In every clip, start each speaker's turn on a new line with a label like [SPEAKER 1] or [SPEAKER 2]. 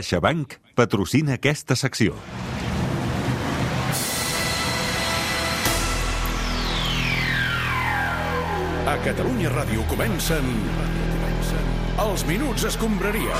[SPEAKER 1] CaixaBank patrocina aquesta secció.
[SPEAKER 2] A Catalunya Ràdio comencen... Els Minuts Escombraria.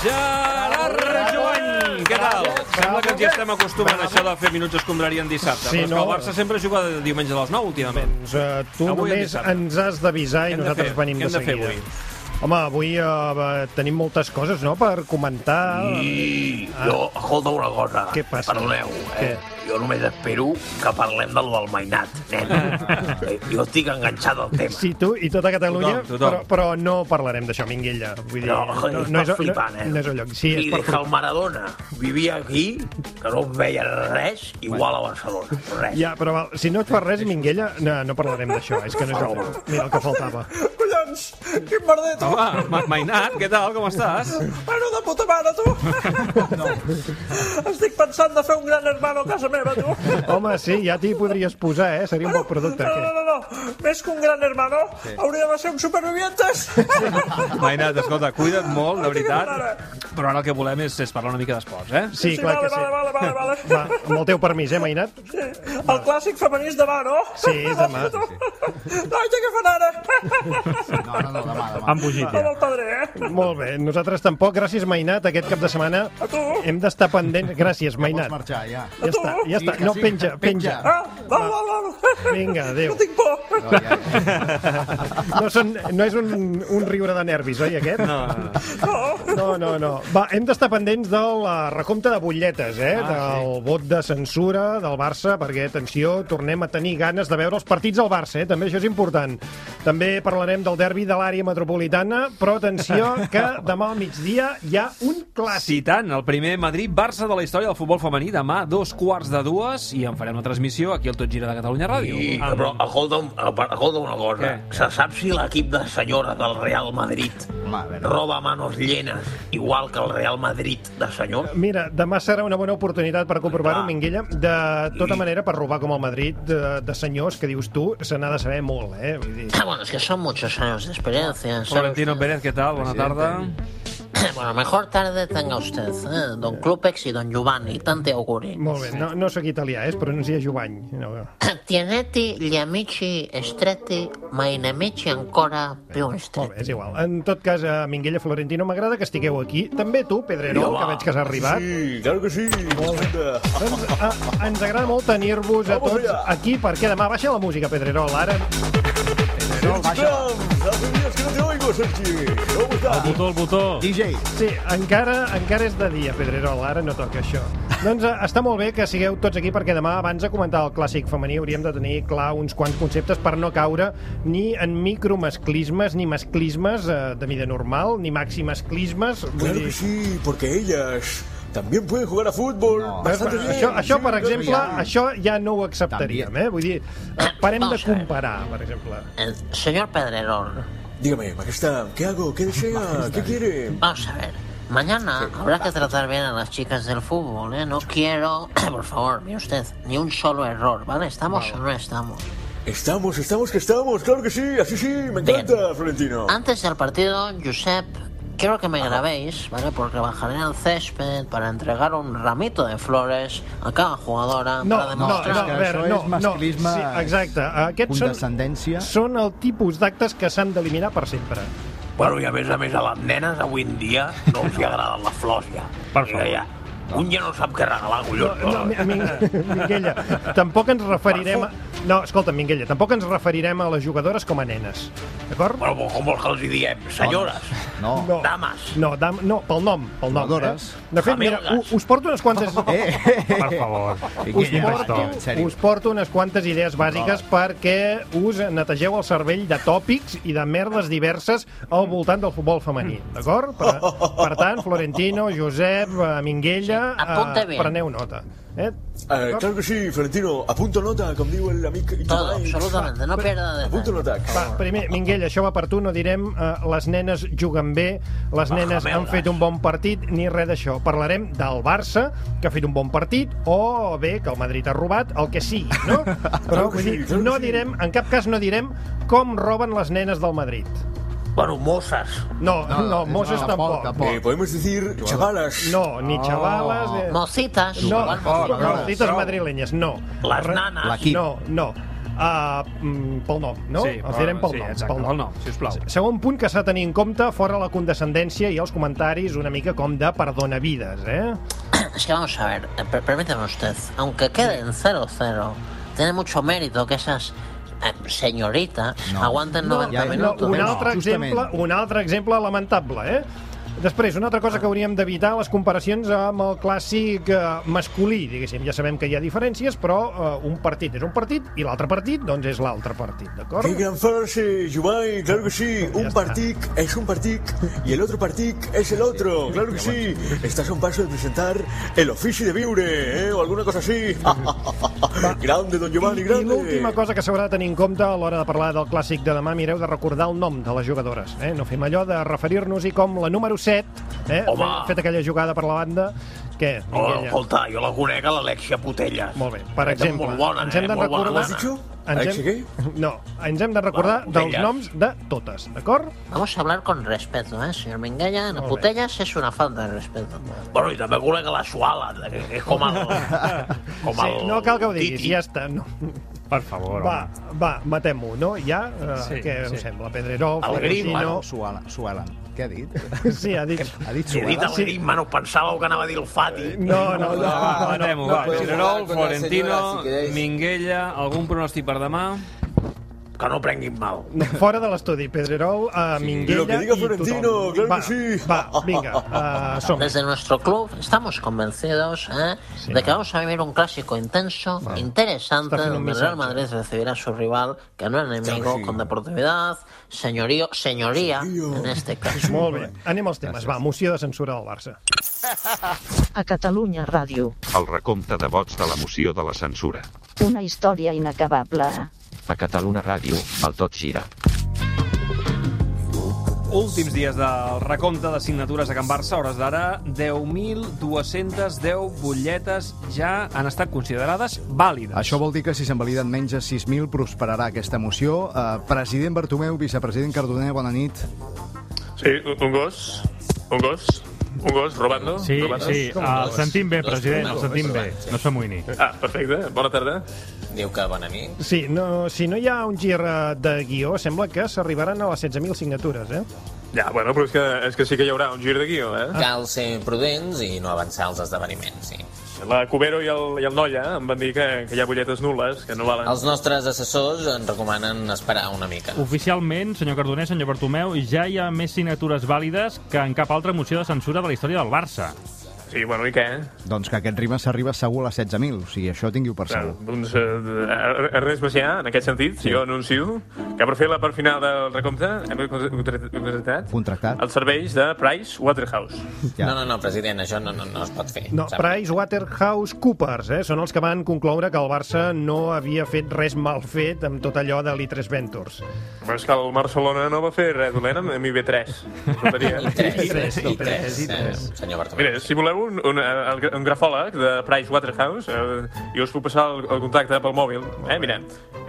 [SPEAKER 3] Gerard Joan, què tal? Sembla que ens hi estem acostumant a això de fer minuts escombraria en dissabte,
[SPEAKER 4] Sí,
[SPEAKER 3] però és que el
[SPEAKER 4] no?
[SPEAKER 3] Barça sempre juga de diumenge a les 9 últimament.
[SPEAKER 4] Doncs eh, tu
[SPEAKER 3] Avui
[SPEAKER 4] només
[SPEAKER 3] dissabte.
[SPEAKER 4] ens has d'avisar i
[SPEAKER 3] Què hem de
[SPEAKER 4] nosaltres
[SPEAKER 3] fer?
[SPEAKER 4] venim
[SPEAKER 3] Què
[SPEAKER 4] de
[SPEAKER 3] hem de fer
[SPEAKER 4] seguida.
[SPEAKER 3] avui?
[SPEAKER 4] Home, avui eh, va- tenim moltes coses, no?, per comentar. Ah,
[SPEAKER 5] I jo, escolta una cosa.
[SPEAKER 4] Què passa?
[SPEAKER 5] Perdoneu, eh?
[SPEAKER 4] Què?
[SPEAKER 5] Jo només espero que parlem del del mainat, nen.
[SPEAKER 4] Ah.
[SPEAKER 5] Eh, jo estic enganxat al tema.
[SPEAKER 4] Sí, tu i tota Catalunya,
[SPEAKER 3] Tothom,
[SPEAKER 4] Però,
[SPEAKER 3] tothom.
[SPEAKER 4] però no parlarem d'això, Minguella. Vull dir,
[SPEAKER 5] No, no,
[SPEAKER 4] no,
[SPEAKER 5] és, flipant, eh?
[SPEAKER 4] no, no és el lloc. Sí,
[SPEAKER 5] I
[SPEAKER 4] és per
[SPEAKER 5] des que el Maradona vivia aquí, que no veia res, igual a Barcelona. Res.
[SPEAKER 4] Ja, però val, si no et fa res, Minguella, no, no parlarem d'això, és que no és el lloc. Mira el que faltava.
[SPEAKER 6] Collons, quin merdet!
[SPEAKER 3] Home, Ma- Mainat, què tal? Com estàs?
[SPEAKER 6] Bueno, de puta mare, tu! No. Estic pensant de fer un gran hermano a casa meva, tu!
[SPEAKER 4] Home, sí, ja t'hi podries posar, eh? Seria un bon producte.
[SPEAKER 6] No, no,
[SPEAKER 4] Què?
[SPEAKER 6] no, no. Més que un gran hermano, sí. hauria de ser un supervivientes!
[SPEAKER 3] Mainat, escolta, cuida't molt, de
[SPEAKER 6] mare.
[SPEAKER 3] veritat. Però ara el que volem és, és parlar una mica d'esports, eh?
[SPEAKER 4] Sí, clar
[SPEAKER 6] vale,
[SPEAKER 4] que sí.
[SPEAKER 6] vale, vale, vale, vale.
[SPEAKER 4] Va, amb el teu permís, eh, Mainat?
[SPEAKER 6] Sí. El clàssic femení és demà, no?
[SPEAKER 4] Sí, és demà.
[SPEAKER 6] Tu? Noia, què fan ara?
[SPEAKER 7] Han fugit
[SPEAKER 6] Amb
[SPEAKER 7] ja.
[SPEAKER 6] el padre, eh?
[SPEAKER 4] Molt bé, nosaltres tampoc. Gràcies, Mainat, aquest cap de setmana.
[SPEAKER 6] A tu?
[SPEAKER 4] Hem d'estar pendents. Gràcies, Mainat.
[SPEAKER 8] marxar, ja.
[SPEAKER 4] Ja està, ja està. No, penja, penja.
[SPEAKER 6] Ah, val, val, val.
[SPEAKER 4] Vinga, adéu.
[SPEAKER 6] No tinc por.
[SPEAKER 8] No, ja, ja.
[SPEAKER 4] No, són, no és un, un riure de nervis, oi, aquest? No, no, no. no. Va, hem d'estar pendents del eh, recompte de butlletes, eh? del vot de censura del Barça, perquè, atenció, tornem a tenir ganes de veure els partits del Barça, eh? També això és important. També parlarem del derbi de l'àrea metropolitana, però atenció que demà al migdia hi ha un clàssic.
[SPEAKER 3] Sí, tant, el primer Madrid-Barça de la història del futbol femení demà, dos quarts de dues, i en farem una transmissió aquí al Tot Gira de Catalunya Ràdio.
[SPEAKER 5] I,
[SPEAKER 4] Ah,
[SPEAKER 3] Amb-
[SPEAKER 5] però, escolta, escolta una cosa.
[SPEAKER 3] Què?
[SPEAKER 5] Se sap si l'equip de senyores del Real Madrid
[SPEAKER 8] Home, a veure.
[SPEAKER 5] roba a manos llenes igual que el Real Madrid de senyors?
[SPEAKER 4] Mira, demà serà una bona oportunitat per comprovar-ho,
[SPEAKER 5] Ah.
[SPEAKER 4] Minguella. De tota manera, per robar com el Madrid de, de senyors que dius tu, se n'ha de saber molt, eh? Vull dir,
[SPEAKER 9] Ah, bueno, es que son muchos años de experiencia. ¿sabes?
[SPEAKER 3] Florentino Pérez, què tal? Bona tarda.
[SPEAKER 9] Bueno, mejor tarde tenga usted, ¿eh? Don Clupex y Don Giovanni, tante auguri.
[SPEAKER 4] molt bé, no, no sóc italià, eh? es pronuncia Jovany. No.
[SPEAKER 9] Tienetti, gli amici, stretti, ma inemici ancora più
[SPEAKER 4] Molt bé,
[SPEAKER 9] stretti.
[SPEAKER 4] és igual. En tot cas, a Minguella Florentino, m'agrada que estigueu aquí. També tu, Pedrero,
[SPEAKER 5] Home.
[SPEAKER 4] que veig que has arribat.
[SPEAKER 7] Sí, claro que sí.
[SPEAKER 4] Doncs, a, ens agrada molt tenir-vos a tots aquí, perquè demà baixa la música, Pedrerol. Ara,
[SPEAKER 8] Pedrerol, baixa.
[SPEAKER 7] Hace días que no te oigo, Sergi. ¿Cómo estás? Botó, el botó.
[SPEAKER 8] DJ,
[SPEAKER 4] Sí, encara, encara és de dia, Pedrerol, ara no toca això. Doncs eh, està molt bé que sigueu tots aquí perquè demà, abans de comentar el clàssic femení, hauríem de tenir clar uns quants conceptes per no caure ni en micromasclismes, ni masclismes eh, de mida normal, ni maximasclismes. Vull
[SPEAKER 7] Claro que
[SPEAKER 4] dir,
[SPEAKER 7] sí, porque ellas también pueden jugar a fútbol. Bastante bien.
[SPEAKER 4] això, això, per
[SPEAKER 7] Sí,
[SPEAKER 4] exemple, això ja no ho acceptaríem,
[SPEAKER 8] També. Ah,
[SPEAKER 4] eh? Vull dir, eh, parem de
[SPEAKER 9] Vamos a ver.
[SPEAKER 4] comparar, per exemple.
[SPEAKER 9] Eh, señor Pedrerol,
[SPEAKER 7] Dígame, Ah, majestad, ¿qué hago? ¿Qué desea? ¿Qué quiere?
[SPEAKER 9] vamos a ver. Mañana habrá que tratar bien a las chicas del fútbol, ¿eh? No quiero, por favor, mire usted, ni un solo error, ¿vale? ¿Estamos o no estamos?
[SPEAKER 7] Estamos, estamos, que estamos. Claro que sí, así sí, me encanta, Florentino.
[SPEAKER 9] Antes del partido, Josep, quiero que me grabéis, ¿vale? Porque bajaré al césped para entregar un ramito de flores a cada jugadora
[SPEAKER 4] No,
[SPEAKER 9] para
[SPEAKER 4] no, no,
[SPEAKER 9] demostrar...
[SPEAKER 8] és que
[SPEAKER 4] a
[SPEAKER 8] això
[SPEAKER 4] veure,
[SPEAKER 8] és
[SPEAKER 4] no, no, sí,
[SPEAKER 8] masclisme, eh,
[SPEAKER 4] exacte. Aquests són,
[SPEAKER 8] condescendència.
[SPEAKER 4] són el tipus d'actes que s'han d'eliminar per sempre.
[SPEAKER 5] Bueno, i a més a més a les nenes avui en dia no els hi agraden les flors ja. Per favor. Ja, un ja no sap què regalar, collons.
[SPEAKER 4] No, Mi- Mi- Minguella, tampoc ens referirem... A... No, escolta, Minguella, tampoc ens referirem a les jugadores com a nenes, d'acord?
[SPEAKER 5] Bueno, com vols que els hi diem? Senyores,
[SPEAKER 8] No.
[SPEAKER 4] No,
[SPEAKER 5] dames.
[SPEAKER 4] no, dam, no, pel nom, pel nom. Eh?
[SPEAKER 8] Jugadores.
[SPEAKER 4] De fet, mira, u- us porto unes quantes...
[SPEAKER 8] Eh, eh, eh.
[SPEAKER 7] Per favor.
[SPEAKER 4] Us
[SPEAKER 8] Guillem, en
[SPEAKER 4] porto,
[SPEAKER 8] sèrio.
[SPEAKER 4] us porto unes quantes idees bàsiques perquè us netegeu el cervell de tòpics i de merdes diverses al voltant del futbol femení, d'acord? Per, per tant, Florentino, Josep, eh, Minguella,
[SPEAKER 9] Sí, apunta bé.
[SPEAKER 4] preneu nota. Eh?
[SPEAKER 7] Eh, claro que sí, Florentino. Apunto nota, com diu l'amic...
[SPEAKER 9] Todo,
[SPEAKER 7] Ibai.
[SPEAKER 9] absolutamente, no pierda de
[SPEAKER 7] Apunto
[SPEAKER 9] detalle.
[SPEAKER 7] nota.
[SPEAKER 4] Va, primer, Minguella, això va per tu, no direm eh, les nenes juguen bé, les nenes han
[SPEAKER 5] veure.
[SPEAKER 4] fet un bon partit, ni res d'això. Parlarem del Barça, que ha fet un bon partit, o bé, que el Madrid ha robat, el que sigui, no? Però,
[SPEAKER 7] que
[SPEAKER 4] vull
[SPEAKER 7] sí, clar
[SPEAKER 4] dir,
[SPEAKER 7] que
[SPEAKER 4] no
[SPEAKER 7] sí.
[SPEAKER 4] direm, en cap cas no direm com roben les nenes del Madrid.
[SPEAKER 10] Bueno, mozas.
[SPEAKER 4] No, no, Moses tampoc.
[SPEAKER 7] Eh, podemos decir chavalas.
[SPEAKER 4] No, ni chavalas...
[SPEAKER 5] Oh.
[SPEAKER 4] eh,
[SPEAKER 11] Mocitas.
[SPEAKER 4] No, oh,
[SPEAKER 11] igual
[SPEAKER 4] no,
[SPEAKER 11] mocitas.
[SPEAKER 4] no, cites madrilenyes, no.
[SPEAKER 10] Les
[SPEAKER 4] Re-
[SPEAKER 10] nanes.
[SPEAKER 12] L'equip.
[SPEAKER 4] No, no. Uh, pel nom, no?
[SPEAKER 3] Sí, ah,
[SPEAKER 4] Els direm pel
[SPEAKER 3] sí,
[SPEAKER 4] nom.
[SPEAKER 3] exacte,
[SPEAKER 4] pel
[SPEAKER 3] pel nom, sisplau.
[SPEAKER 4] Segon punt que s'ha de tenir en compte, fora la condescendència i els comentaris una mica com de perdona vides, eh?
[SPEAKER 11] Es que vamos a ver, eh, per- permítame usted, aunque quede en 0-0, tiene mucho mérito que esas eh, señoritas aguanten 90
[SPEAKER 12] ya, no,
[SPEAKER 11] minutos.
[SPEAKER 4] un,
[SPEAKER 9] eh?
[SPEAKER 12] no,
[SPEAKER 4] altre
[SPEAKER 12] justament.
[SPEAKER 4] exemple, un altre exemple lamentable, eh? Després, una altra cosa que hauríem d'evitar, les comparacions amb el clàssic eh, masculí, diguéssim. Ja sabem que hi ha diferències, però eh, un partit és un partit i l'altre partit, doncs, és l'altre partit, d'acord?
[SPEAKER 7] Qué gran frase, Jumai, claro que sí. Un partic es un partic y el otro partic es el otro, claro que sí. Estás a un paso de presentar el ofici de viure, ¿eh? o alguna cosa así. grande, don Giovanni,
[SPEAKER 4] I, i l'última
[SPEAKER 7] grande.
[SPEAKER 4] cosa que s'haurà de tenir en compte a l'hora de parlar del clàssic de demà, mireu de recordar el nom de les jugadores. Eh? No fem allò de referir-nos-hi com la número 7, eh?
[SPEAKER 10] Home.
[SPEAKER 4] Fet- fet aquella jugada per la banda. Què?
[SPEAKER 10] Oh,
[SPEAKER 4] Miquella?
[SPEAKER 10] escolta, jo la conec a l'Alexia Potella.
[SPEAKER 4] Molt bé. Per
[SPEAKER 10] Era
[SPEAKER 4] exemple,
[SPEAKER 10] molt bona,
[SPEAKER 4] ens hem
[SPEAKER 10] eh?
[SPEAKER 4] de
[SPEAKER 10] Molt bona
[SPEAKER 4] recordar...
[SPEAKER 10] dona.
[SPEAKER 4] Ens
[SPEAKER 7] Alexi,
[SPEAKER 4] hem... No, ens hem de recordar
[SPEAKER 10] Va,
[SPEAKER 4] dels
[SPEAKER 10] Putellas.
[SPEAKER 4] noms de totes, d'acord?
[SPEAKER 11] Vamos a hablar con respeto, ¿eh? Señor Minguella, las
[SPEAKER 4] Muy bien.
[SPEAKER 11] botellas es una falta de respeto.
[SPEAKER 10] Bueno, i també conec a la Suala, que és com el... Com
[SPEAKER 4] Sí,
[SPEAKER 10] el
[SPEAKER 4] no cal que ho diguis,
[SPEAKER 10] Titi.
[SPEAKER 4] ja està. No.
[SPEAKER 3] Per favor,
[SPEAKER 4] Va, va, matem-ho, no? Ja, eh,
[SPEAKER 3] Sí,
[SPEAKER 4] què
[SPEAKER 3] sí.
[SPEAKER 4] em sembla? Pedrerol,
[SPEAKER 10] El Grimm,
[SPEAKER 4] Florentino...
[SPEAKER 12] Suela, Suela. eh? Què ha dit?
[SPEAKER 4] Sí, ha dit...
[SPEAKER 12] Ha dit
[SPEAKER 10] Si he dit
[SPEAKER 12] Suela?
[SPEAKER 10] el Grimm, bueno, pensàveu que anava a dir el Fati.
[SPEAKER 4] No, no, no.
[SPEAKER 3] Va, matem-ho, va.
[SPEAKER 13] podeu
[SPEAKER 3] Ginerol,
[SPEAKER 13] jugar contra la
[SPEAKER 3] Florentino,
[SPEAKER 13] senyora, si queréis.
[SPEAKER 3] Minguella, algun pronòstic per demà?
[SPEAKER 10] Que no prenguin mal.
[SPEAKER 4] Fora de l'estudi, Pedrerol, eh, Minguella
[SPEAKER 7] Lo que diga
[SPEAKER 4] i
[SPEAKER 7] Florentino,
[SPEAKER 4] tothom.
[SPEAKER 7] claro
[SPEAKER 4] va,
[SPEAKER 7] que sí.
[SPEAKER 4] Va, vinga, eh, som.
[SPEAKER 11] Desde nuestro club estamos convencidos ¿eh? de que vamos a vivir un clásico intenso, interesante,
[SPEAKER 4] Está haciendo un
[SPEAKER 11] donde el Real
[SPEAKER 4] mensaje.
[SPEAKER 11] Madrid recibirá a su rival, que no es enemigo, con deportividad, señorío, señoría,
[SPEAKER 7] Señorío.
[SPEAKER 11] en este caso.
[SPEAKER 4] Molt bé, anem als temes. Va, moció de censura del Barça.
[SPEAKER 9] A Catalunya Ràdio,
[SPEAKER 14] El recompte de vots de la moció de la censura.
[SPEAKER 9] una història inacabable.
[SPEAKER 13] A Catalunya Ràdio, el tot gira.
[SPEAKER 3] Últims dies del recompte de signatures a Can Barça, hores d'ara, 10.210 butlletes ja han estat considerades vàlides.
[SPEAKER 12] Això vol dir que si se'n validen menys de 6.000 prosperarà aquesta moció. Eh, president Bartomeu, vicepresident Cardoner, bona nit.
[SPEAKER 10] Sí, un gos, un gos, un gos robando.
[SPEAKER 1] Sí, sí, el sentim bé, president, el sentim bé. No s'amoïni.
[SPEAKER 10] Ah, perfecte, bona tarda.
[SPEAKER 13] Diu que bona nit.
[SPEAKER 4] Sí, no, si no hi ha un gir eh, de guió, sembla que s'arribaran a les 16.000 signatures, eh?
[SPEAKER 10] Ja, bueno, però és que, és que sí que hi haurà un gir de guió, eh?
[SPEAKER 13] Cal ser prudents i no avançar els esdeveniments, sí.
[SPEAKER 10] La Cubero i el, i el Noia em van dir que, que hi ha butlletes nul·les, que no valen.
[SPEAKER 13] Els nostres assessors ens recomanen esperar una mica.
[SPEAKER 1] Oficialment, senyor Cardoner, senyor Bartomeu, ja hi ha més signatures vàlides que en cap altra moció de censura de la història del Barça.
[SPEAKER 10] Sí, bueno, i què?
[SPEAKER 12] Doncs que aquest ritme s'arriba segur a les 16.000, o sigui, això tingueu per
[SPEAKER 10] Claro,
[SPEAKER 12] segur.
[SPEAKER 10] doncs, eh, Ernest Macià, en aquest sentit, si jo anuncio que per fer la part final del recompte hem contractat- contractat
[SPEAKER 12] Contractat.
[SPEAKER 10] els serveis de Price Waterhouse.
[SPEAKER 12] Ja.
[SPEAKER 13] No, no, no, president, això no, no, no es pot fer.
[SPEAKER 4] No,
[SPEAKER 13] sap?
[SPEAKER 4] PricewaterhouseCoopers, eh? Són els que van concloure que el Barça no havia fet res mal fet amb tot allò de l'I3 Ventures.
[SPEAKER 10] Però és que el Barcelona no va fer res dolent amb amb IB3. Faltaria.
[SPEAKER 13] I tres, i tres, i tres,
[SPEAKER 4] I tres.
[SPEAKER 13] eh, senyor Bartomeu.
[SPEAKER 10] Mira, si voleu un, un, eh, un grafòleg de Price Waterhouse, eh, jo us puc passar el, el contacte pel mòbil. Eh, mira,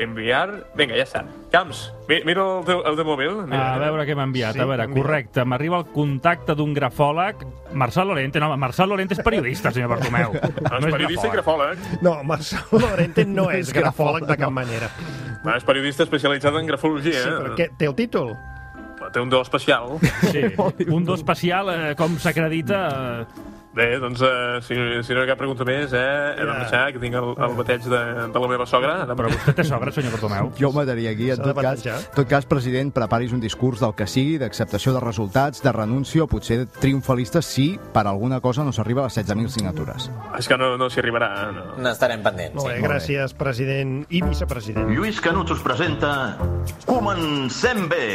[SPEAKER 10] enviar... Vinga, ja està. Camps, mi, mira el teu, el teu mòbil. Mira,
[SPEAKER 1] A veure què m'ha enviat.
[SPEAKER 4] eh, Sí,
[SPEAKER 1] A veure,
[SPEAKER 4] canvia.
[SPEAKER 1] correcte, m'arriba el contacte d'un grafòleg... Marçal Lorente, no, Marçal Lorente és periodista, senyor Bartomeu.
[SPEAKER 10] No és periodista i grafòleg.
[SPEAKER 4] No, Marcel Lorente no és grafòleg de cap manera.
[SPEAKER 10] Bueno, és periodista especialitzat en grafologia.
[SPEAKER 4] Sí, però què, té el títol?
[SPEAKER 10] Però Té un do especial.
[SPEAKER 1] Sí. Un do especial, eh, com s'acredita... Eh,
[SPEAKER 10] Bé, doncs, eh, si, si no hi ha cap pregunta més, eh, he de marxar, que tinc el, el bateig de, de la meva sogra.
[SPEAKER 1] però vostè té sobres, senyor Bartomeu.
[SPEAKER 12] Jo ho mataria aquí. En
[SPEAKER 4] S'ha de
[SPEAKER 12] tot cas,
[SPEAKER 4] batejar.
[SPEAKER 12] en tot cas, president, preparis un discurs del que sigui, d'acceptació de resultats, de renúncia o potser triomfalista si per alguna cosa no s'arriba a les 16.000 signatures.
[SPEAKER 10] És que no, no s'hi arribarà. eh, No.
[SPEAKER 13] N'estarem pendents.
[SPEAKER 4] Molt bé,
[SPEAKER 12] molt bé.
[SPEAKER 4] gràcies, president i vicepresident.
[SPEAKER 10] Lluís Canut us presenta Comencem bé!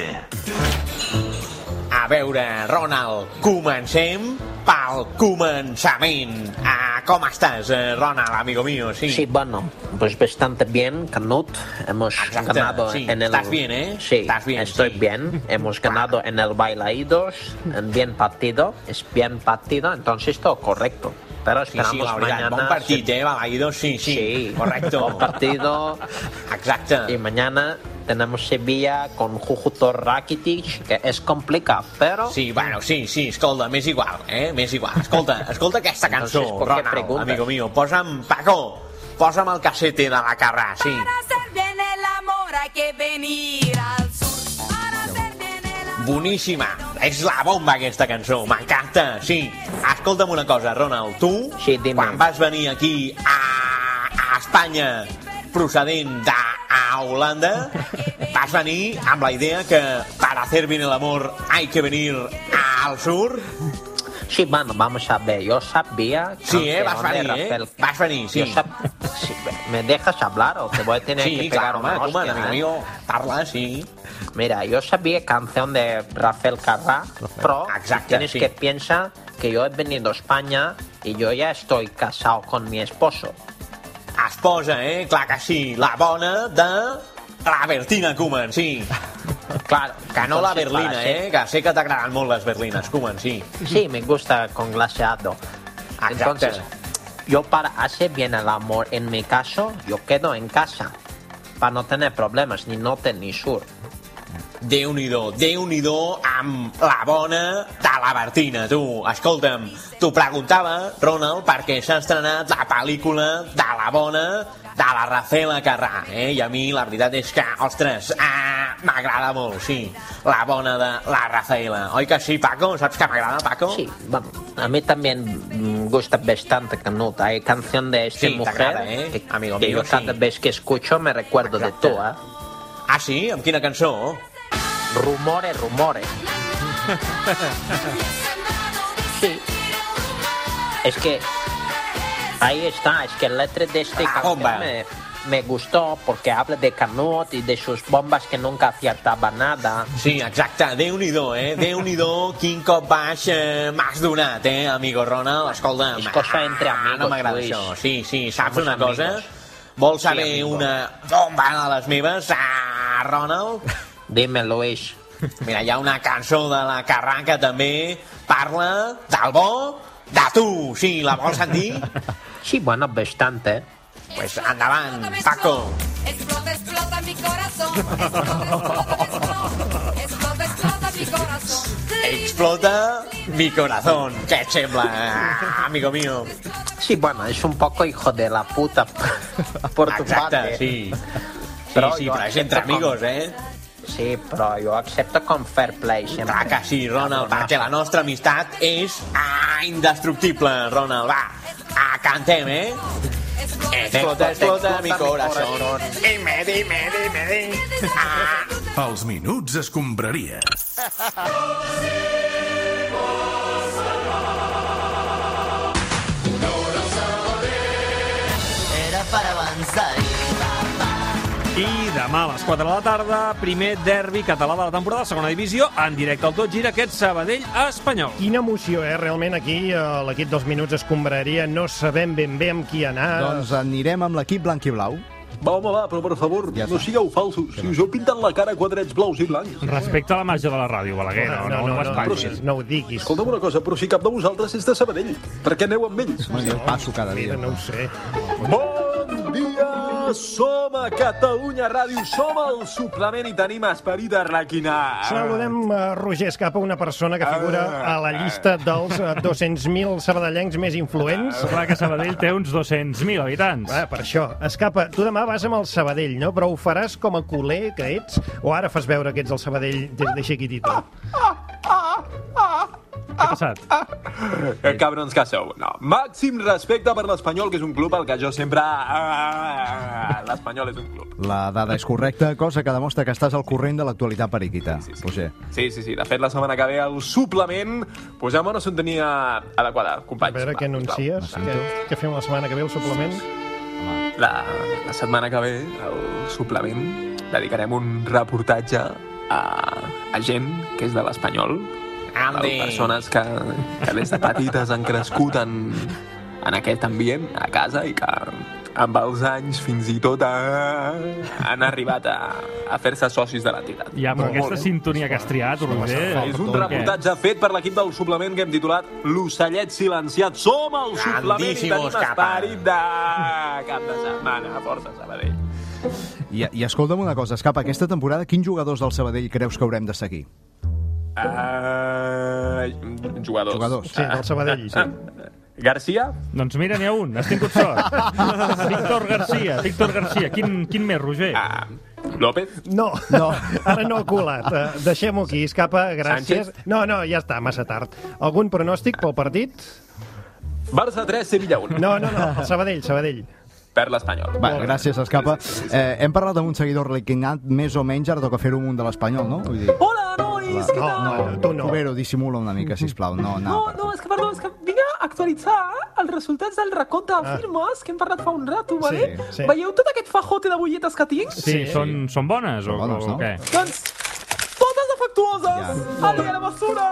[SPEAKER 13] A veure, Ronald, comencem pel començament. Ah, com estàs, eh, Ronald, amigo mío? Sí.
[SPEAKER 11] Sí, bueno, pues bastante bien, Canut. Hemos
[SPEAKER 13] Exacto,
[SPEAKER 11] ganado
[SPEAKER 13] sí.
[SPEAKER 11] en el...
[SPEAKER 13] Estás bien, ¿eh?
[SPEAKER 11] Sí,
[SPEAKER 13] Estás bien,
[SPEAKER 11] estoy
[SPEAKER 13] sí.
[SPEAKER 11] bien. Hemos ganado en el Bailaidos. Bien partido. Es bien partido, entonces todo correcto. Pero
[SPEAKER 13] Sí,
[SPEAKER 11] esperamos
[SPEAKER 13] sí, la veritat,
[SPEAKER 11] mañana...
[SPEAKER 13] doncs, bon partit, eh, Balaïdo? Sí, sí,
[SPEAKER 11] Sí.
[SPEAKER 13] correcto.
[SPEAKER 11] Bon partido.
[SPEAKER 13] eh. Exacte.
[SPEAKER 11] Y mañana tenemos Sevilla con Jujuto Rakitic, que es complicado, pero...
[SPEAKER 13] Sí, bueno, sí, sí, escolta, m'és igual, eh? M'és igual. Escolta, escolta aquesta cançó,
[SPEAKER 11] Entonces, ¿por qué
[SPEAKER 13] Ronald,
[SPEAKER 11] preguntas?
[SPEAKER 13] amigo mío. Posa'm, Paco, posa'm el casete de la carrà, sí.
[SPEAKER 15] Hacer bien el amor hay que venir al sur.
[SPEAKER 13] Boníssima. És la bomba, aquesta cançó. M'encanta, sí. Escolta'm una cosa, Ronald, tu, sí, quan vas venir aquí a, a Espanya procedent de a Holanda, vas venir amb la idea que para hacer bien el amor hay que venir al sur?
[SPEAKER 11] Sí, bueno, vamos a ver, yo sabía...
[SPEAKER 13] Sí,
[SPEAKER 11] que
[SPEAKER 13] eh, vas
[SPEAKER 11] donde
[SPEAKER 13] venir, eh? Vas venir, sí.
[SPEAKER 11] Yo sab- sí, ¿Me dejas hablar o te voy a tener
[SPEAKER 13] Sí,
[SPEAKER 11] que pegar
[SPEAKER 13] claro,
[SPEAKER 11] una
[SPEAKER 13] home, tu,
[SPEAKER 11] hostia,
[SPEAKER 13] amigo
[SPEAKER 11] eh?
[SPEAKER 13] mío, parla, sí.
[SPEAKER 11] Mira, yo sabía canción de Rafael Carrà, pero tienes que piensa que yo he venido a España y yo ya estoy casado con mi esposo.
[SPEAKER 13] Esposa, eh? Clar que sí. La bona de... La Bertina Koeman, sí.
[SPEAKER 11] Claro,
[SPEAKER 13] Que no la
[SPEAKER 11] entonces,
[SPEAKER 13] berlina,
[SPEAKER 11] para
[SPEAKER 13] eh?
[SPEAKER 11] ser-
[SPEAKER 13] Que sé que t'agraden molt les berlines, Koeman, sí.
[SPEAKER 11] Sí, me gusta con glaseado. Entonces, yo para hacer bien el amor en mi caso, yo quedo en casa. Para no tener problemas, ni norte ni sur.
[SPEAKER 13] Déu-n'hi-do, Déu-n'hi-do amb la bona de la Bertina, tu. Escolta'm, t'ho preguntava, Ronald, perquè s'ha estrenat la pel·lícula de la bona de la Rafela Carrà, eh? I a mi la veritat és que, ostres, ah, m'agrada molt, sí. La bona de la Rafaela. Oi que sí, Paco? Saps que m'agrada, Paco? Sí,
[SPEAKER 11] vamos. A mí también mm, gusta bastante Canut. Hay eh? canción de esta
[SPEAKER 13] Sí, te
[SPEAKER 11] mujer
[SPEAKER 13] agrada, eh,
[SPEAKER 11] que,
[SPEAKER 13] amigo
[SPEAKER 11] que
[SPEAKER 13] mío,
[SPEAKER 11] yo cada vez que escucho me recuerdo de tú.
[SPEAKER 13] Ah, sí? Amb quina cançó?
[SPEAKER 11] Rumore, rumore. sí. Es que ahí está, es que el letra de este canción
[SPEAKER 13] bomba.
[SPEAKER 11] me, me gustó porque habla de Canut y de sus bombas que nunca acertaba nada.
[SPEAKER 13] Sí, exacte, Déu-n'hi-do, eh? Déu-n'hi-do, quin cop baix eh, m'has donat, eh, amigo Ronald? Escolta'm, és cosa entre amigos, no m'agrada
[SPEAKER 11] Luis.
[SPEAKER 13] això. Sí, sí, saps
[SPEAKER 11] Somos
[SPEAKER 13] una cosa?
[SPEAKER 11] amigos.
[SPEAKER 13] Vols
[SPEAKER 11] Sí,
[SPEAKER 13] saber
[SPEAKER 11] amigo.
[SPEAKER 13] una bomba de les meves, ah, Ronald?
[SPEAKER 11] Dime, Luis.
[SPEAKER 13] Mira, hi ha una cançó de la Carranca també, parla del bo de tu. Sí, la vols sentir?
[SPEAKER 11] Sí, bueno, bastante.
[SPEAKER 13] Pues endavant, Paco.
[SPEAKER 15] Explota, explota mi corazón. Explota, explota, explota, explota mi corazón.
[SPEAKER 13] Explota mi corazón. Què et sembla, amigo mío?
[SPEAKER 11] Sí, bueno, es un poco Oh, hijo de la puta por tu
[SPEAKER 13] Exacte,
[SPEAKER 11] parte.
[SPEAKER 13] sí. Sí, sí,
[SPEAKER 11] yo
[SPEAKER 13] però és entre
[SPEAKER 11] acepto
[SPEAKER 13] amigos, eh?
[SPEAKER 11] Sí, però jo accepto con fair play sempre.
[SPEAKER 13] Clar Ah, que sí, Ronald, perquè la nostra amistat és ah, indestructible, Ronald. Va, ah, cantem, eh? Explota, explota mi corazón. Dime, dime, dime, dime. Ah,
[SPEAKER 2] Els minuts escombraria.
[SPEAKER 16] Era para avanzar.
[SPEAKER 3] I demà a les 4 de la tarda, primer derbi català de la temporada, segona divisió, en directe al Tot Gira, aquest Sabadell espanyol.
[SPEAKER 4] Quina emoció, eh? Realment aquí eh, l'equip dels minuts escombraria. No sabem ben bé amb qui anar.
[SPEAKER 12] Doncs anirem amb l'equip blanc i blau.
[SPEAKER 17] Va, home, va, però per favor, ja no sigueu falsos. Si us heu pintat la cara quadrats blaus i blancs.
[SPEAKER 1] Respecte a la màgia de la ràdio, Balaguer, no, no, no, no, no,
[SPEAKER 17] Però
[SPEAKER 1] no,
[SPEAKER 17] si-
[SPEAKER 4] no ho diguis.
[SPEAKER 17] Escolta'm una cosa, però si cap de vosaltres és de Sabadell, per què aneu amb ells?
[SPEAKER 12] Bueno, jo passo cada dia.
[SPEAKER 4] no ho sé.
[SPEAKER 17] Bon dia! Som a Catalunya Ràdio, som al suplement i tenim esperit de requinar.
[SPEAKER 4] Ah. Saludem a Roger Escapa, una persona que figura a
[SPEAKER 1] Ah.
[SPEAKER 4] la llista dels eh, 200.000 sabadellencs més influents.
[SPEAKER 1] Ah, Clar que Sabadell té uns 200.000 habitants.
[SPEAKER 4] Ah, per això. Escapa, tu demà vas amb el Sabadell, no? Però ho faràs com a culer que ets? O ara fas veure que ets el Sabadell des de xiquitito?
[SPEAKER 1] Què ha passat?
[SPEAKER 17] Que cabrons que sou. No. Màxim respecte per l'Espanyol, que és un club al que jo sempre... Ah, L'Espanyol és un club.
[SPEAKER 12] La dada és correcta, cosa que demostra que estàs al corrent de l'actualitat periquita, Roger.
[SPEAKER 17] Sí, sí, sí. De fet, la setmana que ve el suplement posem una sintonia adequada, companys.
[SPEAKER 4] A veure què anuncies, què, què fem la setmana que ve, el suplement?
[SPEAKER 17] La, la setmana que ve, el suplement, dedicarem un reportatge a, a gent que és de l'Espanyol, a
[SPEAKER 13] Andy.
[SPEAKER 17] persones que, que des de petites han crescut en, en aquest ambient, a casa, i que amb els anys fins i tot a, han arribat a, a fer-se socis de l'entitat.
[SPEAKER 1] Ja, però
[SPEAKER 17] Molt
[SPEAKER 1] aquesta
[SPEAKER 17] bé.
[SPEAKER 1] sintonia que has triat, Roger...
[SPEAKER 17] És un reportatge fet per l'equip del suplement que hem titulat L'ocellet silenciat. Som el suplement i
[SPEAKER 1] Grandíssimos,
[SPEAKER 17] tenim
[SPEAKER 1] capa.
[SPEAKER 17] esperit de cap de setmana. Força, Sabadell.
[SPEAKER 12] I, I escolta'm una cosa, Escapa, aquesta temporada quins jugadors del Sabadell creus que haurem de seguir?
[SPEAKER 17] Ah, jugadors.
[SPEAKER 12] Jugadors. Sí, del Sabadell, sí.
[SPEAKER 10] Ah,
[SPEAKER 17] Garcia?
[SPEAKER 1] Doncs mira, n'hi ha un, has tingut sort. Víctor Garcia, Víctor Garcia. Quin, quin més, Roger? Ah,
[SPEAKER 17] López?
[SPEAKER 4] No, no, ara no ha colat. Eh, Deixem-ho aquí, escapa, gràcies.
[SPEAKER 17] Sánchez?
[SPEAKER 4] No, no, ja està, massa tard. Algun pronòstic pel partit?
[SPEAKER 17] Barça 3, Sevilla 1.
[SPEAKER 4] No, no, no, el Sabadell, Sabadell.
[SPEAKER 17] Per l'Espanyol.
[SPEAKER 12] Va, gràcies, Escapa. Eh, hem parlat amb un seguidor reclinat, més o menys, ara toca fer-ho amb un de l'Espanyol, no? Vull dir...
[SPEAKER 4] Oh,
[SPEAKER 18] Hola, nois, què
[SPEAKER 12] no,
[SPEAKER 18] tal?
[SPEAKER 12] no, tu no. Cubero, dissimula una mica, sisplau. No,
[SPEAKER 18] No,
[SPEAKER 12] no.
[SPEAKER 18] no, és que, perdó, és que vinc a actualitzar els resultats del recompte de
[SPEAKER 12] Ah.
[SPEAKER 18] firmes que hem parlat fa un rato, vale?
[SPEAKER 1] sí.
[SPEAKER 18] Veieu tot aquest fajote de butlletes que tinc?
[SPEAKER 1] Sí, Són, són bones o,
[SPEAKER 12] bones,
[SPEAKER 1] o
[SPEAKER 12] no?
[SPEAKER 1] què?
[SPEAKER 18] Doncs, totes defectuoses!
[SPEAKER 1] Ja.
[SPEAKER 18] Ale, a la basura!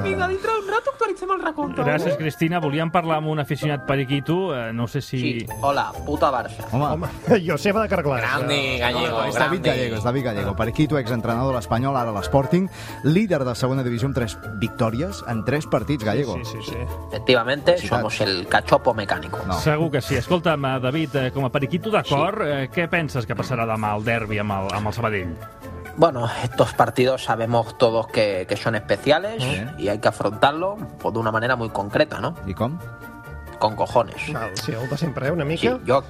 [SPEAKER 18] Vinga, dintre d'un rato actualitzem el recompte.
[SPEAKER 1] Gràcies, Cristina. Volíem parlar amb un aficionat periquito. eh, No sé si... Sí,
[SPEAKER 11] hola, puta Barça.
[SPEAKER 12] Home,
[SPEAKER 4] Joseba de Carglaç.
[SPEAKER 11] Grande, Gallego,
[SPEAKER 12] És David
[SPEAKER 11] grande.
[SPEAKER 12] Gallegos, David Gallego. Per aquí tu, exentrenador de l'Espanyol, ara a l'Sporting, líder de segona divisió amb tres victòries en tres partits, Gallego.
[SPEAKER 4] Sí, sí, sí.
[SPEAKER 11] Efectivamente, somos el cachopo mecánico.
[SPEAKER 12] No.
[SPEAKER 1] Segur que sí. Escolta'm, eh, David, eh, com a periquito de cor, eh, què penses que passarà demà al derbi amb el, amb el Sabadell?
[SPEAKER 11] Bueno, estos partidos sabemos todos que, que son especiales y hay que afrontarlos pues, de una manera muy concreta, ¿no?
[SPEAKER 12] ¿Y cómo?
[SPEAKER 11] Con cojones.
[SPEAKER 4] Val, sí, el de sempre, eh, una mica.
[SPEAKER 11] Sí, yo,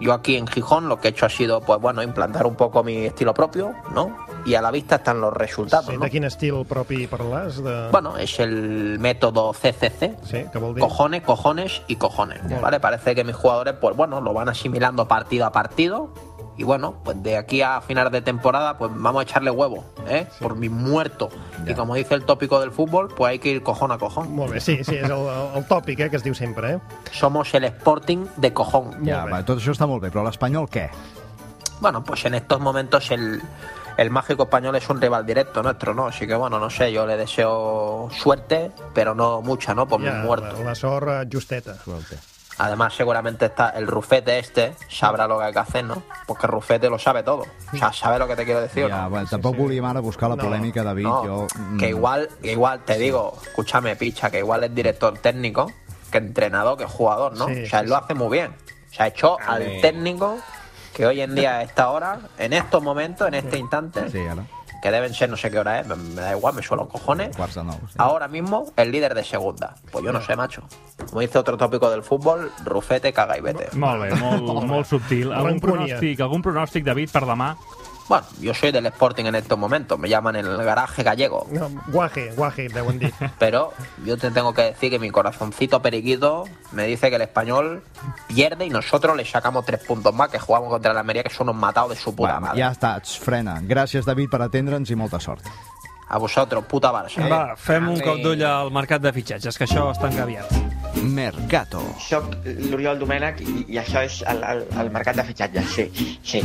[SPEAKER 11] yo aquí en Gijón lo que he hecho ha sido, pues bueno, implantar un poco mi estilo propio, ¿no? Y a la vista están los resultados,
[SPEAKER 4] Sí,
[SPEAKER 11] ¿no?
[SPEAKER 4] de quin estil propi parlàs? De...
[SPEAKER 11] Bueno, es el método CCC. Cojones, cojones y cojones. ¿Vale? Parece que mis jugadores, pues bueno, lo van asimilando partido a partido. Y bueno, pues de aquí a final de temporada, pues vamos a echarle huevo, ¿eh? Por mis muertos. Y como dice el tópico del fútbol, pues hay que ir cojón a cojón.
[SPEAKER 4] Molt bé, sí, sí, és el, el tòpic eh, que es diu sempre, eh?
[SPEAKER 11] Somos el Sporting de cojón.
[SPEAKER 12] Ja, va, tot això està molt bé, però l'Espanyol què?
[SPEAKER 11] Bueno, pues en estos momentos el, el mágico español es un rival directo nuestro, ¿no? Así que bueno, no sé, yo le deseo suerte, pero no mucha, ¿no? Por
[SPEAKER 4] Ja,
[SPEAKER 11] mis
[SPEAKER 4] la,
[SPEAKER 11] muertos.
[SPEAKER 4] la sort eh, justeta.
[SPEAKER 11] Además, seguramente está el rufete este sabrá lo que hay que hacer, ¿no? Porque rufete lo sabe todo. O sea, sabe lo que te quiero decir. o no?
[SPEAKER 12] Ja, bueno, tampoc volíem ara buscar la polèmica, David.
[SPEAKER 11] No,
[SPEAKER 12] Jo, mm,
[SPEAKER 11] Que igual, que igual, te digo, escúchame, picha, que igual es director técnico, que entrenador, que jugador, ¿no?
[SPEAKER 12] Sí,
[SPEAKER 11] o sea, él
[SPEAKER 12] sí,
[SPEAKER 11] lo hace muy bien. O sea, echó
[SPEAKER 12] Amén.
[SPEAKER 11] al técnico que hoy en día, a esta hora, en estos momentos, en este instante, que deben ser no sé qué hora es, me, me da igual, me suelo cojones.
[SPEAKER 12] Quarts de nou.
[SPEAKER 11] Ahora mismo, el líder de segunda. Pues yo no sé, macho. Como dice otro tópico del fútbol, rufete, caga y vete.
[SPEAKER 1] Molt bé, molt, molt subtil. Algun
[SPEAKER 11] Rancúnia.
[SPEAKER 1] pronòstic, algun pronòstic, David, per demà?
[SPEAKER 11] Bueno, yo soy del Sporting en estos momentos, me llaman el garaje gallego.
[SPEAKER 4] No, guaje, guaje, deuen dir.
[SPEAKER 11] Pero yo te tengo que decir que mi corazoncito periquito me dice que el español pierde y nosotros le sacamos tres puntos más que jugamos contra la Almería, que son unos matados de su puta madre.
[SPEAKER 12] Ja està, ets frena. Gràcies, David, per atendre'ns i molta sort.
[SPEAKER 11] A vosotros, puta Barça. ¿eh?
[SPEAKER 3] Va, fem un
[SPEAKER 11] Amén.
[SPEAKER 3] cop d'ull al mercat de fitxatges, que això està engaviat.
[SPEAKER 12] Mercato.
[SPEAKER 19] Soc l'Oriol Domènech i, i això és el, el, el mercat de fitxatges, sí, sí.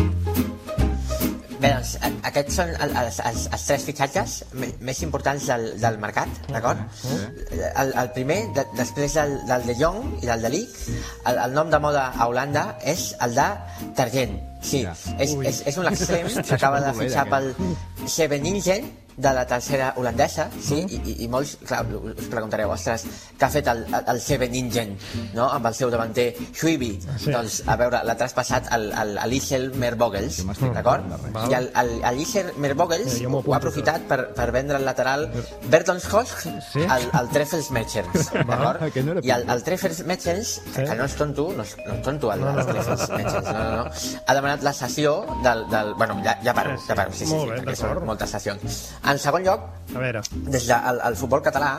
[SPEAKER 20] Bé, doncs, a- aquests són el- els, els, els tres fitxatges me- més importants del, del mercat, d'acord? El, el primer, de, després del, del de Jong i del de Lig, el, el nom de moda a Holanda és el de Targent. Sí, és,
[SPEAKER 21] Ui.
[SPEAKER 20] és, és un extrem
[SPEAKER 21] Hòstia,
[SPEAKER 20] que acaba de
[SPEAKER 21] és una
[SPEAKER 20] fitxar pel
[SPEAKER 21] bolera,
[SPEAKER 20] Scheveningen de la tercera holandesa, sí, i,
[SPEAKER 21] Mm-hmm.
[SPEAKER 20] i, i molts, clar, us preguntareu, ostres, què ha fet el, el Scheveningen, no?, amb el seu davanter Schwibi.
[SPEAKER 21] Sí.
[SPEAKER 20] Doncs, a veure, l'ha traspassat al, al, al Issel Mervogels, d'acord? I el, el, el Issel Mervogels
[SPEAKER 21] Eh, jo m'ho
[SPEAKER 20] ho
[SPEAKER 21] apunto,
[SPEAKER 20] ha aprofitat per, per vendre el lateral Bertonshoch sí? al, al Treffelsmetchers, d'acord?
[SPEAKER 21] aquest no era
[SPEAKER 20] I el, el Treffelsmetchers, que, que no és tonto, no és, no és tonto el, el Treffelsmetchers, no, no, no, ha demanat la cessió del... del bueno, ja, ja paro, ja paro, sí, sí,
[SPEAKER 4] Ah, Molt
[SPEAKER 20] sí
[SPEAKER 4] bé,
[SPEAKER 20] perquè són
[SPEAKER 4] d'acord.
[SPEAKER 20] moltes sessions. En segon lloc,
[SPEAKER 4] A veure, Ah,
[SPEAKER 20] des del de, el- el futbol català,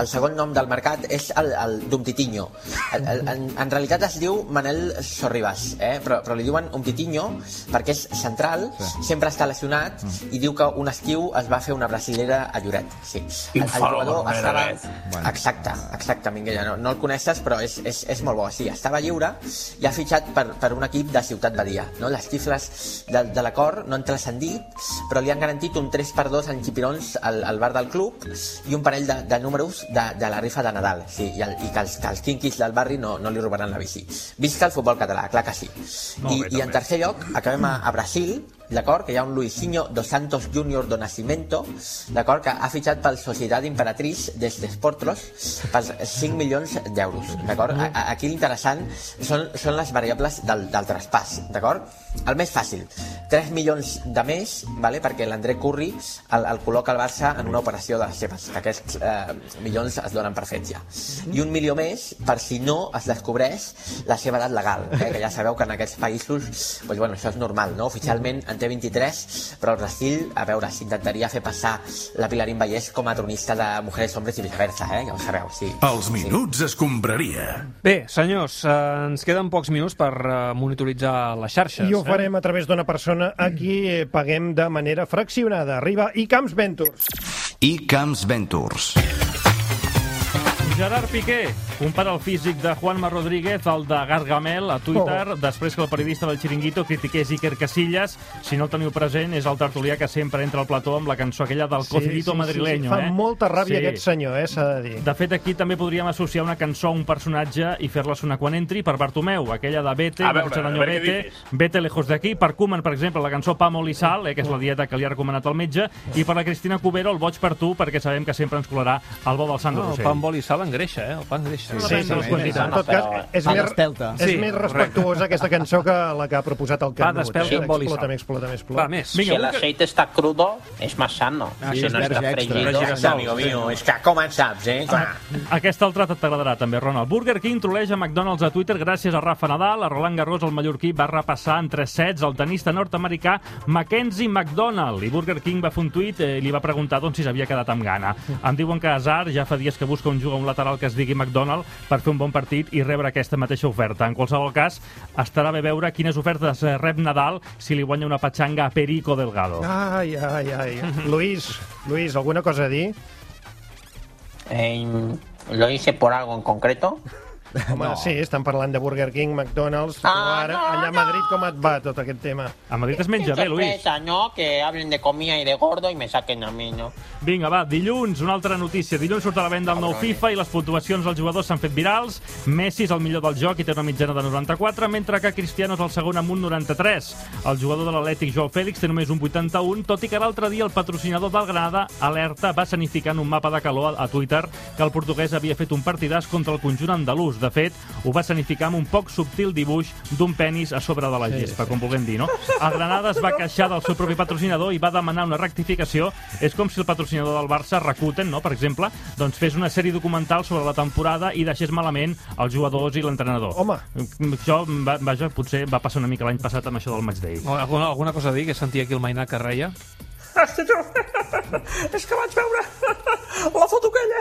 [SPEAKER 20] el segon nom del mercat és el, el Dumtitinho. El, el, en, en realitat es diu Manel Sorribas, eh? però, però li diuen Umtitinho perquè és central, sempre està lesionat
[SPEAKER 4] Mm.
[SPEAKER 20] i diu que un estiu es va fer una brasilera a Lloret. Sí. El, el
[SPEAKER 21] Infaló,
[SPEAKER 20] jugador
[SPEAKER 21] Manel
[SPEAKER 20] estava...
[SPEAKER 21] Lloret.
[SPEAKER 20] Bueno. Exacte, exacte, Minguella. No, no el coneixes, però és, és, és molt bo. Sí, estava lliure i ha fitxat per, per un equip de Ciutat Badia. No? Les xifres de, de l'acord no han transcendit, però li han garantit un 3x2 en xipirons al, al bar del club i un parell de, de números de, de la rifa de Nadal. Sí, i, el, i que, els, que els quinquis del barri no, no li robaran la bici. Visca el futbol català, clar que sí.
[SPEAKER 21] Molt
[SPEAKER 20] I,
[SPEAKER 21] bé,
[SPEAKER 20] i en tercer lloc, acabem a, a Brasil, d'acord? Que hi ha un Luisinho Dos Santos Junior do Nascimento, d'acord? Que ha fitxat pel Societat Imperatriz des d'Esportros per 5 milions d'euros, d'acord? A- a- Aquí l'interessant són, són les variables del, del traspàs, d'acord? El més fàcil, 3 milions de més, vale? perquè l'André Curri el, el col·loca al Barça en una operació de les seves, que aquests eh, milions es donen per fets ja. I un milió més per si no es descobreix la seva edat legal, eh? que ja sabeu que en aquests països doncs, bueno, això és normal, no? oficialment en té 23, però el Brasil, a veure, s'intentaria fer passar la Pilarín Vallès com a tronista de Mujeres, Hombres i viceversa, eh? ja ho sabeu, sí.
[SPEAKER 2] Els minuts escombraria.
[SPEAKER 3] Bé, senyors, eh, ens queden pocs minuts per eh, monitoritzar eh? les xarxes.
[SPEAKER 4] I ho farem a través d'una persona a qui paguem de manera fraccionada. Arriba i Camps Ventures.
[SPEAKER 21] I Camps Ventures.
[SPEAKER 1] Gerard Piqué compara el físic de Juanma Rodríguez al de Gargamel a Twitter oh. després que el periodista del Chiringuito critiqués Iker Casillas. Si no el teniu present, és el tertulià que sempre entra al plató amb la cançó aquella del sí, cocidito madrileño.
[SPEAKER 4] Fa
[SPEAKER 1] eh?
[SPEAKER 4] molta ràbia sí. aquest senyor, eh, s'ha de dir.
[SPEAKER 1] De fet, aquí també podríem associar una cançó a un personatge i fer-la sonar quan entri per Bartomeu, aquella de Vete,
[SPEAKER 10] A veure,
[SPEAKER 1] Nacho Araño,
[SPEAKER 10] a veure què
[SPEAKER 1] Vete,
[SPEAKER 10] dices.
[SPEAKER 1] Vete lejos d'aquí, per Koeman, per exemple, la cançó Pa, mol i sal, eh, que és la dieta que li ha recomanat el metge, i per la Cristina Cubero, el boig per tu, perquè sabem que sempre ens colarà el bo del Sandro
[SPEAKER 3] No, el
[SPEAKER 1] Rossell.
[SPEAKER 3] pa amb oli i sal engreixa, eh? El pa engreixa.
[SPEAKER 1] Sí, sí, sí.
[SPEAKER 4] En tot cas, és, més, és més respectuosa aquesta cançó que la que ha proposat el Canut.
[SPEAKER 11] d'espelta
[SPEAKER 4] eh?
[SPEAKER 11] amb oli i
[SPEAKER 4] Explota'm,
[SPEAKER 11] sal.
[SPEAKER 4] explota'm, explota'm.
[SPEAKER 11] si el aceite está crudo, es más sano.
[SPEAKER 1] Ah,
[SPEAKER 11] si
[SPEAKER 1] sí,
[SPEAKER 11] no
[SPEAKER 1] és
[SPEAKER 11] está
[SPEAKER 1] verge extra.
[SPEAKER 11] freído,
[SPEAKER 1] Fregides
[SPEAKER 11] es
[SPEAKER 1] sols,
[SPEAKER 11] amigo
[SPEAKER 1] sí.
[SPEAKER 11] mío. Es
[SPEAKER 20] que com en saps, eh?
[SPEAKER 11] Clar.
[SPEAKER 1] Aquesta altra t'agradarà també, Ronald. Burger King troleja McDonald's a Twitter gràcies a Rafa Nadal. A Roland Garros, el mallorquí, va repassar en 3 sets el tenista nord-americà Mackenzie McDonald. I Burger King va fer un tuit eh, i li va preguntar doncs, si s'havia quedat amb gana. Em diuen que Azar ja fa dies que busca un jugador un lateral que es digui McDonald per fer un bon partit i rebre aquesta mateixa oferta. En qualsevol cas, estarà bé veure quines ofertes eh, rep Nadal si li guanya una petxanga a Perico Delgado.
[SPEAKER 4] Ai, ai, ai. Luis, Luis, alguna cosa a dir?
[SPEAKER 11] Eh, ¿Lo hice por algo en concreto?
[SPEAKER 4] Home, no. sí, estan parlant de Burger King, McDonald's, ah, però ara, no, allà a Madrid com et va tot aquest tema?
[SPEAKER 1] A Madrid es menja
[SPEAKER 11] Qué
[SPEAKER 1] bé, Luis.
[SPEAKER 11] sorpresa, ¿no? Que hablen de comida y de gordo y me saquen a mí, ¿no?
[SPEAKER 1] Vinga, va, dilluns, una altra notícia. Dilluns surt a la venda el nou FIFA i les puntuacions dels jugadors s'han fet virals. Messi és el millor del joc i té una mitjana de 94, mentre que Cristiano és el segon amb un 93. El jugador de l'Atlètic, Joao Fèlix, té només un 81, tot i que l'altre dia el patrocinador del Granada, Alerta, va sanificar en un mapa de calor a, a Twitter que el portuguès havia fet un partidàs contra el conjunt andalús. De fet, ho va sanificar amb un poc subtil dibuix d'un penis a sobre de la gespa, com vulguem dir, no? El Granada es va queixar del seu propi patrocinador i va demanar una rectificació. És com si el patrocinador del Barça, Rakuten, no?, per exemple, doncs fes una sèrie documental sobre la temporada i deixés malament els jugadors i l'entrenador.
[SPEAKER 4] Home!
[SPEAKER 1] Això, va, vaja, potser va passar una mica l'any passat amb això del match day.
[SPEAKER 3] Alguna, alguna cosa a dir, que sentia aquí el Mainà que reia?
[SPEAKER 6] És que vaig veure la foto aquella.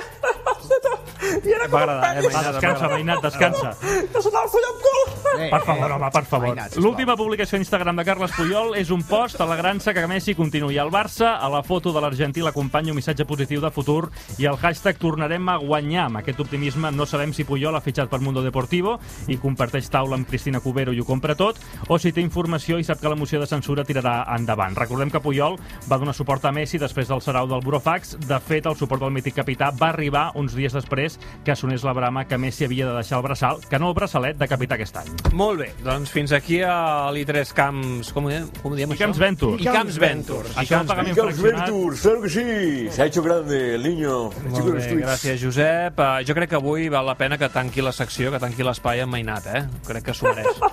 [SPEAKER 6] I era com
[SPEAKER 1] Va agradar,
[SPEAKER 6] un penis.
[SPEAKER 1] eh, Mainat, Descansa, va agradar. Mainat, descansa.
[SPEAKER 6] Que se t'ha follat cul.
[SPEAKER 1] Per favor, home, per favor. L'última publicació a Instagram de Carles Puyol és un post alegrant-se que Messi continuï al Barça. A la foto de l'argentí l'acompanya un missatge positiu de futur i el hashtag tornarem a guanyar. Amb aquest optimisme no sabem si Puyol ha fitxat per Mundo Deportivo i comparteix taula amb Cristina Cubero i ho compra tot, o si té informació i sap que la moció de censura tirarà endavant. Recordem que Puyol va donar suport a Messi després del sarau del Burofax. De fet, el suport del mític capità va arribar uns dies després que sonés la brama que Messi havia de deixar el braçal, que no el braçalet, de capità aquest any.
[SPEAKER 3] Molt bé, doncs fins aquí a l'I3 Camps... Com ho diem, com ho diem
[SPEAKER 1] I
[SPEAKER 3] això?
[SPEAKER 1] Camps Ventures.
[SPEAKER 3] I Camps Ventures. I Camps Ventures.
[SPEAKER 7] Camps Ventures, claro que sí. Se ha hecho grande el niño. El chico
[SPEAKER 3] Molt
[SPEAKER 7] de los
[SPEAKER 3] bé,
[SPEAKER 7] tweets.
[SPEAKER 3] gràcies, Josep. Uh, jo crec que avui val la pena que tanqui la secció, que tanqui l'espai amb Mainat, eh? Crec que s'ho mereix.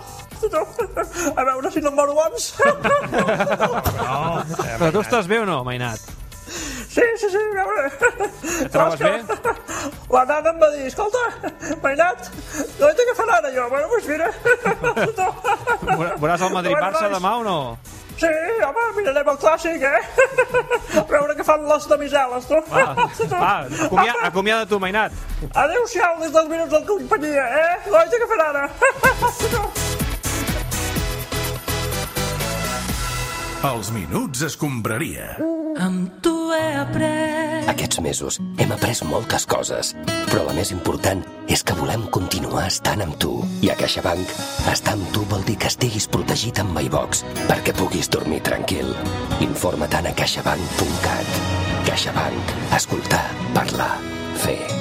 [SPEAKER 6] A veure si no em moro abans.
[SPEAKER 1] Oh.
[SPEAKER 3] Però tu estàs bé o no, Mainat?
[SPEAKER 6] Sí, sí, sí, a veure. Et
[SPEAKER 3] trobes bé?
[SPEAKER 6] La nana em va dir, escolta, Mainat, no he de agafar ara jo. Bueno, doncs mira.
[SPEAKER 4] Doncs
[SPEAKER 3] Veuràs el Madrid-Barça demà o no?
[SPEAKER 6] Sí, home, mirarem el clàssic, eh? A veure què fan les damiseles, tu.
[SPEAKER 3] Va, va acomiada, acomiada tu, Mainat.
[SPEAKER 6] Adéu-siau des dels minuts del companyia, eh? L'haig d'agafar ara.
[SPEAKER 2] Els minuts escombraria.
[SPEAKER 22] Amb tu he après...
[SPEAKER 23] Aquests mesos hem après moltes coses, però la més important és que volem continuar estant amb tu. I a CaixaBank, estar amb tu vol dir que estiguis protegit amb MyBox perquè puguis dormir tranquil. Informa-te'n a caixabank.cat. CaixaBank. Escoltar, parlar, fer.